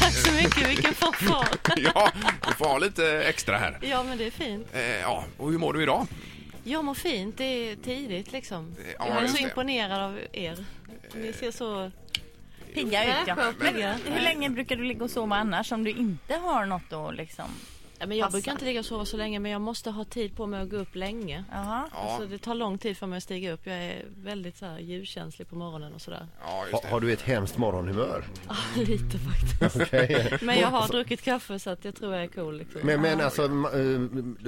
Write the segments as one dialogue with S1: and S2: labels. S1: Tack så mycket, vilken fanfar.
S2: Ja, du får ha lite extra här.
S1: Ja, men det är fint.
S2: Eh, Ja, och hur mår du idag?
S1: Jag mår fint, det är tidigt liksom.
S2: ja,
S1: jag är
S2: just
S1: så
S2: det.
S1: imponerad av er. Ni ser så...
S3: Pigga ut ja.
S1: Fräscha och
S3: Men
S1: pigga.
S3: hur länge brukar du ligga och sova annars om du inte har något då liksom?
S1: Ja, men jag
S3: Passar.
S1: brukar inte ligga och sova så länge, men jag måste ha tid på mig att gå upp länge.
S3: Jaha.
S1: Alltså, det tar lång tid för mig att stiga upp. Jag är väldigt så här, ljuskänslig på morgonen och sådär.
S2: Ja, just
S4: Ha, har du ett hemskt morgonhumör?
S1: Ah, lite faktiskt.
S4: Okej.
S1: Men jag har druckit kaffe så att jag tror jag är cool. Liksom.
S4: Men, men alltså, ma- eh,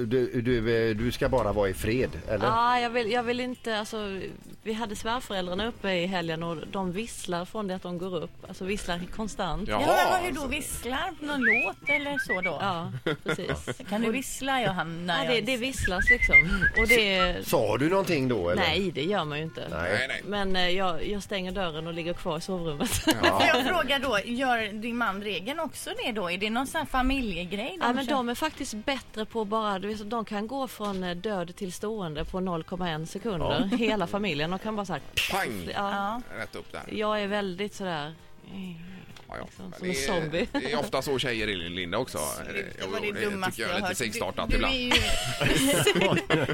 S4: du, du, eh, du ska bara vara i fred, eller?
S1: Ah, jag, vill, jag vill inte, alltså, vi hade svärföräldrarna uppe i helgen och de visslar från det att de går upp. Alltså visslar konstant.
S2: Jaha,
S3: Ja, men vad, hur
S2: alltså.
S3: då? Visslar på någon låt eller så då?
S1: Ja, precis.
S3: Kan du vissla Johan?
S1: Ja,
S3: När
S1: det,
S3: jag...
S1: det visslas liksom. Och det...
S4: Sa du någonting då, eller?
S1: Nej, det gör man ju inte.
S2: Nej, nej.
S1: Men eh, jag, jag stänger dörren och ligger kvar i sovrummet.
S3: Får jag fråga då, gör din man regeln också det då? Är det någon sån här familjegrej?
S1: Ja, men
S3: kör?
S1: de är faktiskt bättre på bara, du vet, de kan gå från eh, död till stående på 0,1 sekunder. Hela familjen. De kan bara så här,
S2: Pang!
S1: ja.
S2: Rätt upp där.
S1: Jag är väldigt sådär.
S2: Ja, ja.
S1: Som
S2: Men
S1: en
S2: det är-
S1: zombie.
S2: Det är ofta så tjejer är, Linda också.
S3: Sluta,
S2: Eh, Jo,
S3: vad det
S2: jo,
S3: dummaste
S2: tycker jag är
S3: har
S2: lite
S3: hört.
S2: segstartat
S3: du, du, är
S2: ibland.
S3: ju,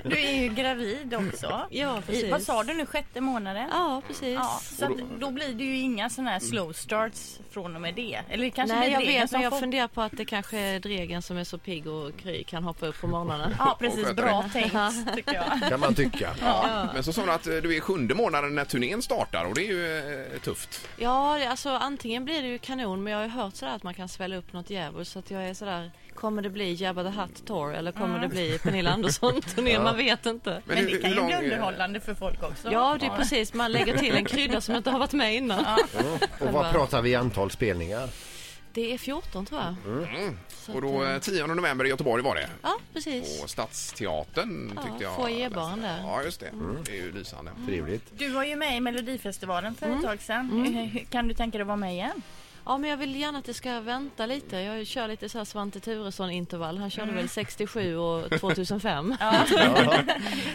S3: du är ju gravid också.
S1: Ja,
S3: I,
S1: precis.
S3: vad sa du nu, sjätte månaden?
S1: Ja, precis.
S3: Ja, så att, då blir det ju inga såna här slow starts från och med det. Eller kanske
S1: Nej,
S3: blir
S1: jag
S3: Alltså, det
S1: vet,
S3: som
S1: men jag
S3: får-
S1: funderar på att det kanske är Dregen som är så pigg och kry kan hoppa upp på morgonen.
S3: Ja,
S2: Och
S3: precis.
S2: sköta
S3: Bra
S2: det.
S3: tänkt, tycker jag.
S4: Kan man tycka.
S2: Men så sa hon att eh, du är sjunde månaden när turnén startar och det är ju eh, tufft.
S1: Ja, alltså antingen blir det ju kanon men jag har ju hört sådär att man kan svälla upp något djävulskt så att jag är sådär, kommer det bli Jabba the Hutt Tour eller kommer det bli Pernilla Andersson-turné? Man vet inte.
S3: Men det
S2: hur-
S3: kan
S2: hur
S3: ju
S2: lång,
S3: bli
S2: eh,
S3: underhållande för folk också.
S1: Ja, det är precis, man lägger till en krydda som inte har varit med innan.
S4: Och vad pratar vi i antal spelningar?
S1: Det är 14 tror jag. Så
S2: Och
S1: att,
S2: då
S1: eh,
S2: eh, 10 november i Göteborg var det.
S1: Ja, precis.
S2: På Stadsteatern
S1: Ja,
S2: tyckte jag.
S1: foajébarn där.
S2: Ja, just det. Det är ju lysande.
S4: Trevligt.
S3: Du var ju med i Melodifestivalen för
S2: Mm.
S3: ett tag sedan. Eh, Hur- Kan du tänka dig att vara med igen?
S1: Ja, men jag vill gärna att det ska vänta lite. Jag kör lite så här Svante Turesson-intervall. Han körde väl 67 och 2005.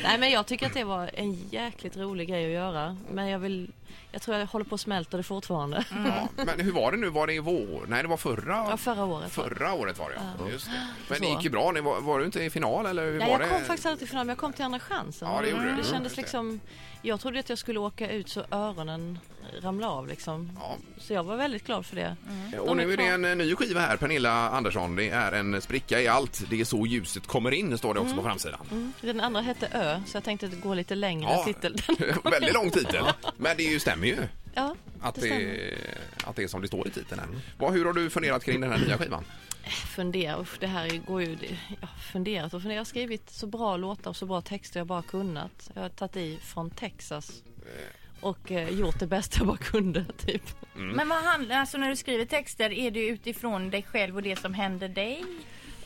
S1: Nej, men jag tycker att det var en jäkligt rolig grej att göra. Men jag vill... Jag tror jag håller på att smälta det fortfarande.
S2: Ja, men hur var det nu? Var det i vår? Nej, det var förra.
S1: Mm. Ja, förra året.
S2: Förra året var det, ja. Just det. Men det
S1: Så.
S2: gick ju bra. Ni Var, var du inte i final? Eller hur
S1: Nej,
S2: var
S1: jag
S2: det?
S1: kom faktiskt aldrig till final, men jag kom till Andra chansen.
S2: Ja, det gjorde du. Mm,
S1: det
S2: just
S1: kändes
S2: det.
S1: liksom... Jag trodde att jag skulle åka ut så öronen ramlade av liksom.
S2: Ja.
S1: Så jag var väldigt glad för det.
S2: Och
S1: De är
S2: nu är det
S1: kvar.
S2: en eh, ny skiva här, Pernilla Andersson. Det är en spricka i allt. Det är så ljuset kommer in, står det också
S1: Mm.
S2: på framsidan.
S1: Den andra hette Ö, så jag tänkte att gå lite längre titel.
S2: väldigt lång titel. Men det är ju, stämmer ju
S1: Ja,
S2: att
S1: det
S2: det,
S1: stämmer.
S2: att det är som det står i titeln. Här. Vad, hur har du funderat kring den här nya skivan?
S1: fundera, usch, det här går ju, det- jag har funderat och funderat. Jag har skrivit så bra låtar och så bra texter jag bara kunnat. Jag har tagit i från Texas och eh, gjort det bästa jag bara kunde typ.
S2: Mm.
S3: Men vad handlar, alltså när du skriver texter, är det utifrån dig själv och det som händer dig?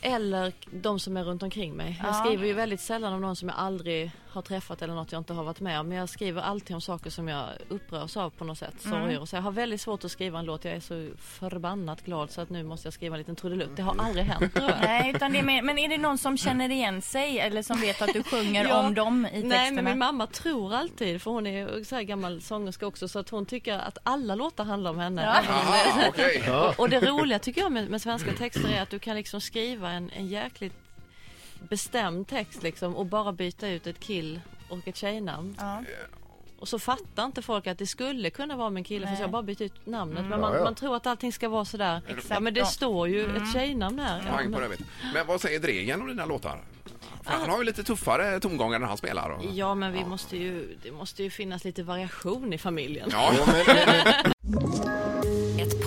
S1: Eller de som är runt omkring mig. Jag
S3: Ja.
S1: skriver ju väldigt sällan om någon som jag aldrig har träffat eller något jag inte har varit med om. Men jag skriver alltid om saker som jag upprörs av på något sätt.
S3: Mm.
S1: Sorger och så. Jag har väldigt svårt att skriva en låt. Jag är så förbannat glad så att nu måste jag skriva en liten trudelutt. Det har aldrig hänt tror jag.
S3: Nej, utan det är mer, men är det någon som känner igen sig eller som vet att du sjunger
S1: Ja.
S3: om dem i texterna?
S1: Nej, men min mamma tror alltid, för hon är så här gammal sångerska också, så att hon tycker att alla låtar handlar om henne.
S3: Ja.
S2: Aha, okej.
S1: Och, och det roliga tycker jag med, med svenska texter är att du kan liksom skriva en, en jäkligt bestämd text liksom och bara byta ut ett kill och ett tjejnamn.
S3: Ja.
S1: Och så fattar inte folk att det skulle kunna vara min kille för
S3: Nej. Mm.
S1: jag bara bytt ut namnet. Men man,
S4: Ja, ja.
S1: man tror att allting ska vara sådär.
S3: Exakt. Mm.
S1: Ja men det står ju ett tjejnamn här. Ja,
S2: Pang
S1: men-
S2: på rödvin. Men vad säger Dregen om dina låtar? För han har ju lite tuffare tongångar när han spelar. Och...
S1: ja men vi måste ju, det måste ju finnas lite variation i familjen.
S2: Ja,
S5: Ett